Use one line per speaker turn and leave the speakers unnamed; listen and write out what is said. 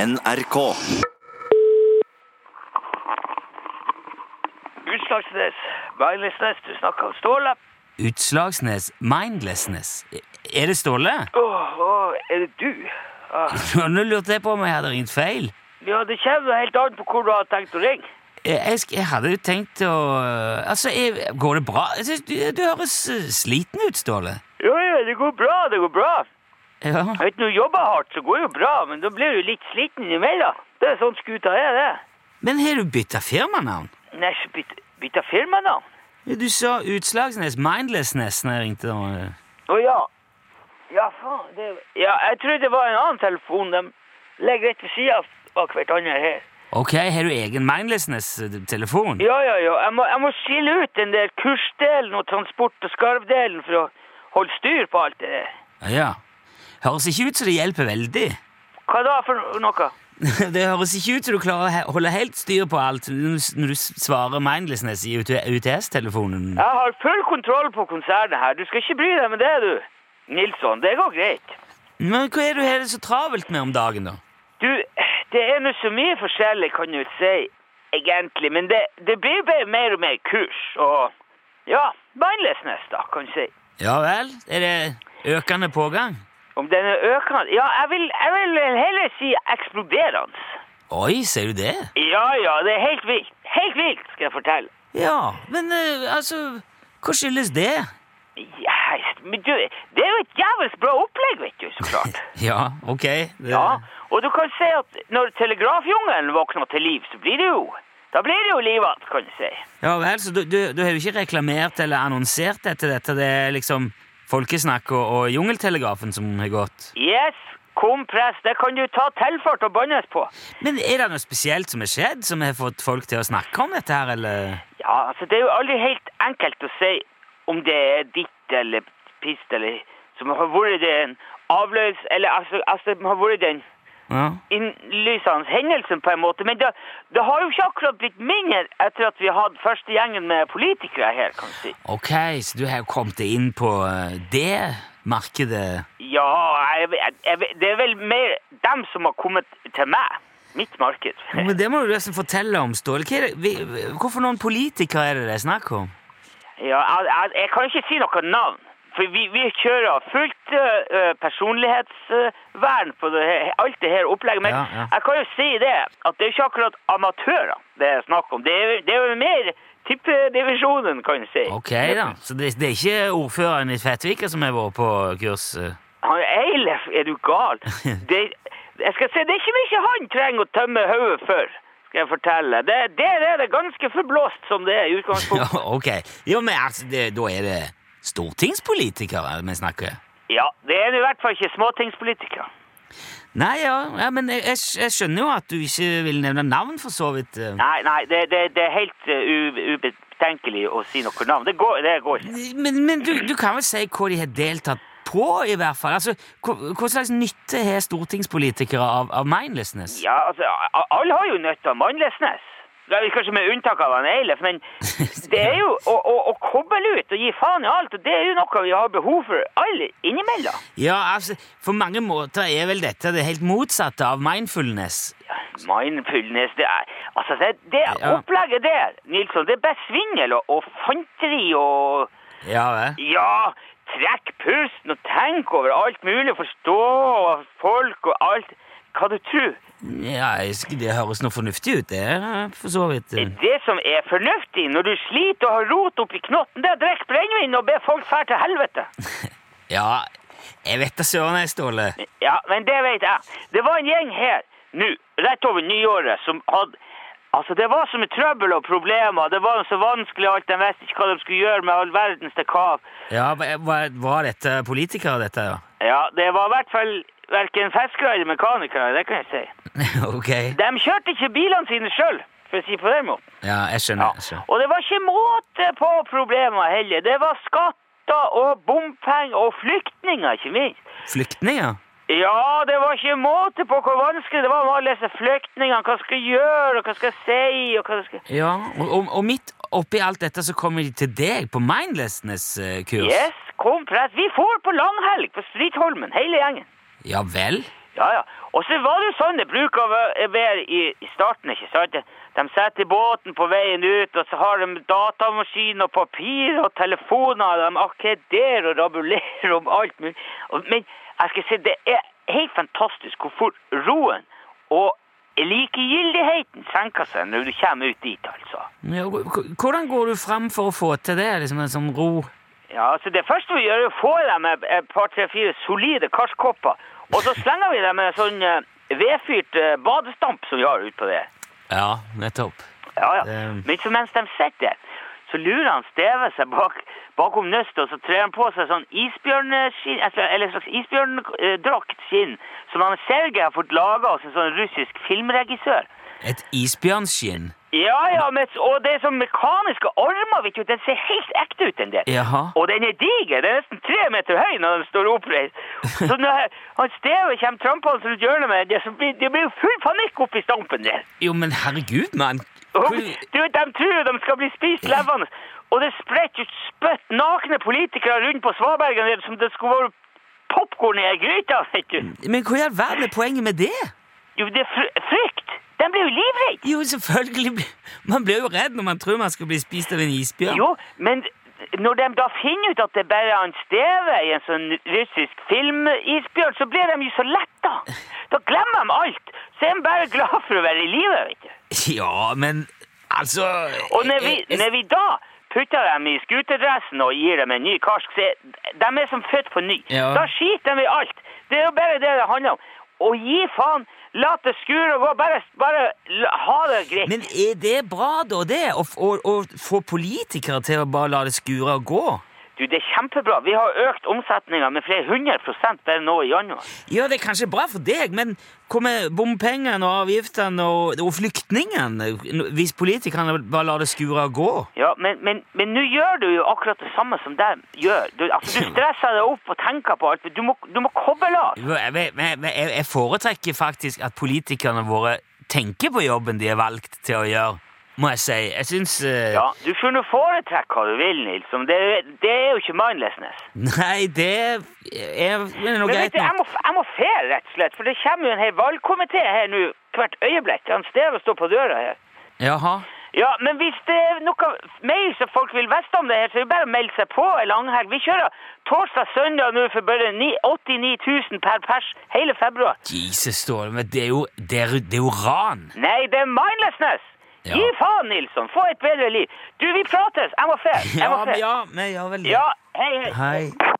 NRK.
Utslagsnes, Beilisnes, du snakker om Ståle.
Utslagsnes Mindlessness. Er det Ståle?
Åh, åh, er det du? Ah.
Nå lurte jeg på om jeg hadde ringt feil.
Ja, det kommer jo helt an på hvor du har tenkt å ringe.
Jeg, jeg, sk- jeg hadde jo tenkt å Altså, jeg, går det bra? Jeg synes, du, du høres eh, sliten ut, Ståle.
Ja, ja, det går bra, det går bra.
Ja.
Vet du, når du jobber hardt, så går det jo bra, men da blir du litt sliten imellom. Det er sånn skuta er, det.
Men har du bytta firmanavn?
Nei, så byt- bytta firma da.
Du sa Utslagsnes Mindlessness når jeg ringte. nå.
Å ja. Ja, faen, det Ja, jeg tror det var en annen telefon. De legger rett ved siden av hverandre her.
Ok, har du egen eh, Mindlessness-telefon?
Ja, ja, ja. Jeg må, jeg må skille ut den der kursdelen og transport- og skarvdelen for å holde styr på alt det der.
ja. Høres ikke ut som det hjelper veldig.
Hva da for noe?
Det høres ikke ut som du klarer å he- holde helt styr på alt når du s- svarer Mindlessness i UTS-telefonen.
Jeg har full kontroll på konsernet her. Du skal ikke bry deg med det, du. Nilsson, det går greit.
Men hva er du har det så travelt med om dagen, da?
Du, det er nå så mye forskjellig, kan du si, egentlig. Men det, det blir bare mer og mer kurs, og ja, mindlessness, da, kan du si.
Ja vel? Er det økende pågang?
Om den er økende Ja, jeg vil, jeg vil heller si eksploderende.
Oi, sier du det?
Ja, ja, det er helt vilt. Helt vilt, skal jeg fortelle.
Ja, men eh, altså Hva skyldes det?
Yes, men du, det er jo et jævels bra opplegg, vet du, så klart.
Ja, ok. Det,
Ja, og du kan si at når telegrafjungelen våkner til liv, så blir det jo Da blir det jo liv igjen, kan du si.
Ja vel, så du, du, du har jo ikke reklamert eller annonsert etter dette? Det er liksom folkesnakk og, og jungeltelegrafen som har gått?
Yes, kompress, det kan du ta tilfart og bannes på.
Men er det noe spesielt som har skjedd, som har fått folk til å snakke om dette her, eller?
Ja, altså, det er jo aldri helt enkelt å si om det er ditt eller pist eller Som har vært det en avløs... Eller altså, altså det har vært den
Ja.
innlysende hendelsen, på en måte. Men det, det har jo ikke akkurat blitt mindre etter at vi hadde første gjengen med politikere her, kan du si.
Ok, så du har jo kommet deg inn på eh, det markedet?
Ja, jeg, jeg, jeg, det er vel mer dem som har kommet til meg. Mitt marked.
Ja, Men det må du nesten fortelle om, Ståle. Hva er det, vi, hvorfor noen politikere er det det er snakk om?
Ja, jeg, jeg, jeg kan ikke si noe navn. For vi, vi kjører fullt eh, personlighetsvern på det, her- alt det her opplegget. Men
Ja, ja.
jeg kan jo si det, at det er ikke akkurat amatører det er snakk om. Det er, det er jo mer tippedivisjonen, kan du si.
Ok da, så det, det er ikke ordføreren i Fettvika som har vært på kurs? eh?
Han Eilef, er du gal? Det, jeg skal si, det er ikke mye han trenger å tømme hodet for, skal jeg fortelle. Det, der er det ganske forblåst som det er i
Ja,
utgangspunktet.
ok. Jo, men altså, det, da er det stortingspolitikere vi snakker?
Ja, det er i hvert fall ikke småtingspolitikere.
Nei, ja, ja men jeg, jeg, skj- jeg skjønner jo at du ikke vil nevne navn, for så vidt. eh.
Nei, nei, det, det, det er helt eh, u, ubetenkelig å si noe navn. Det går, det går ikke.
Men, men du, du kan vel si hva de har deltatt på, i hvert fall? Altså, hva, hva slags nytte har stortingspolitikere av, av mindlessness?
Ja, altså, a- alle har jo nytte av mannløsnes. Det er kanskje med unntak av han Eilef, men det er jo å, å, å koble ut og gi faen i alt, og det er jo noe vi har behov for alle innimellom.
Ja, altså, på mange måter er vel dette det helt motsatte av mindfulness.
Mindfulness, det er Altså, det, det
Ja.
opplegget der, Nilsson, det er bare svindel og, og fanteri og
Ja, vel?
Ja, trekk pusten og tenk over alt mulig, forstå og folk og alt. Hva du tror.
Ja, jeg sk- det høres noe fornuftig ut, det, eh, for så vidt. eh.
Det som er fornuftig når du sliter og har rot oppi knotten, det er å drikke brennevin og be folk fære til helvete.
Ja, jeg vet da søren, jeg, Ståle.
Ja, men det vet jeg. Det var en gjeng her nå, rett over nyåret, som hadde Altså, det var så mye trøbbel og problemer. Det var så vanskelig alt. De visste ikke hva de skulle gjøre med all verdens dekav.
Ja, hva- hva- Var dette politikere, dette? ja?
Ja, det var i hvert fall verken fiskere eller mekanikere, det kan jeg si.
ok.
De kjørte ikke bilene sine sjøl, for å si på den måten.
Ja, jeg skjønner. jeg skjønner.
Og det var ikke måte på problemer heller. Det var skatter og bompenger og flyktninger, ikke minst.
Flyktninger?
Ja, det var ikke måte på hvor vanskelig det var med alle disse flyktningene. Hva skal jeg gjøre, og hva skal jeg si, og hva skal jeg...
Ja, og, og, og midt oppi alt dette så kommer de til deg på mindlessness-kurs?
Yes, kom press. Vi får på langhelg på Stridholmen, hele gjengen.
Ja vel?
Ja, ja. Og så var det jo sånn det bruker å væ- være i i starten, ikke sant? De setter båten på veien ut, og så har de datamaskin og papir og telefoner, og de akkederer og rabulerer om alt mulig. Og- Men jeg skal si, det er helt fantastisk hvor fort roen og likegyldigheten senker seg når du kommer ut dit, altså.
Ja, h- hvordan går du fram for å få til det? Liksom en sånn ro?
Ja, altså det første vi gjør er å få dem et et par, tre, fire solide karskopper, og så slenger vi dem med en sånn eh, vedfyrt eh, badestamp som vi har ute på det.
Ja, nettopp.
Ja, ja.
Det-
Men så mens de sitter der, så lurer han Steve seg bak, bakom nøstet, og så trer han på seg sånn isbjørnskinn, altså, eller en slags isbjørndrakt skinn, som han Sergej har fått laget hos en sånn russisk filmregissør.
Et isbjørnskinn?
Ja, ja, men, og det er sånn mekaniske armer, vet du, den ser helt ekte ut den der.
Jaha.
Og den er diger, den er nesten tre meter høy når den står oppreist. Så når han Steve kommer trampende rundt hjørnet med den, så blir det blir jo full panikk oppi stampen der.
Jo, men herregud, mann!
Og
Hvor-
Du, de tror de skal bli spist levende. Og det spretter ut spytt nakne politikere rundt på svabergen der som det skulle vært popkorn i ei gryte. vet du.
Men hvor i all verden er poenget med det?
Jo, det er fr frykt. De blir jo livredde.
Jo, selvfølgelig. blir- Man blir jo redd når man tror man skal bli spist av en isbjørn.
Jo, men når de da finner ut at det bare er en steve i en sånn russisk filmisbjørn, så blir de jo så letta. Da glemmer de alt. Så er de bare glad for å være i live, vet du.
Ja, men altså
Og når vi,
Eh,
når vi da putter dem i skuterdressen og gir dem en ny karsk, så er, de er som født på ny.
Ja.
Da skiter de i alt. Det er jo bare det det handler om. Å gi faen, la det skure og gå, bare, bare la- ha det greit.
Men er det bra, da, det? Å, f- å, å få politikere til å bare la det skure og gå?
Du, det er kjempebra. Vi har økt omsetninga med flere hundre prosent bare nå i januar.
Ja, det er kanskje bra for deg, men hva med bompengene og avgiftene og, og flyktningene? Hvis politikerne bare lar det skure og gå?
Ja, men, men, men nå gjør du jo akkurat det samme som de gjør. Du, altså, du stresser deg opp og tenker på alt. men Du må, du må koble av.
Jo, Jeg, jeg- jeg, jeg foretrekker faktisk at politikerne våre tenker på jobben de er valgt til å gjøre, må jeg si. Jeg syns eh,
Ja, du får nå foretrekke hva du vil, Nils. men Det, det er jo ikke mindlessness.
Nei, det er men
Men
noe
vet
greit
du, jeg må,
nok.
jeg må fer, rett og slett, for det kommer jo en hel valgkomité her nå hvert øyeblikk. Han Steve står på døra her.
Jaha.
Ja, men hvis det er noe mer som folk vil vite om det her, så er det bare å melde seg på en langhelg. Vi kjører torsdag-søndag nå for bare ni- 89 000 per pers hele februar.
Jesus, Ståle, men det er jo, det er, det er jo ran.
Nei, det er mindlessness!
Ja.
Gi faen, Nilsson! Få et bedre liv! Du, vi prates! Jeg må fer! Jeg må
Ja,
fer!
ja, vi gjør vel det.
Ja, hei, hei!
Hei.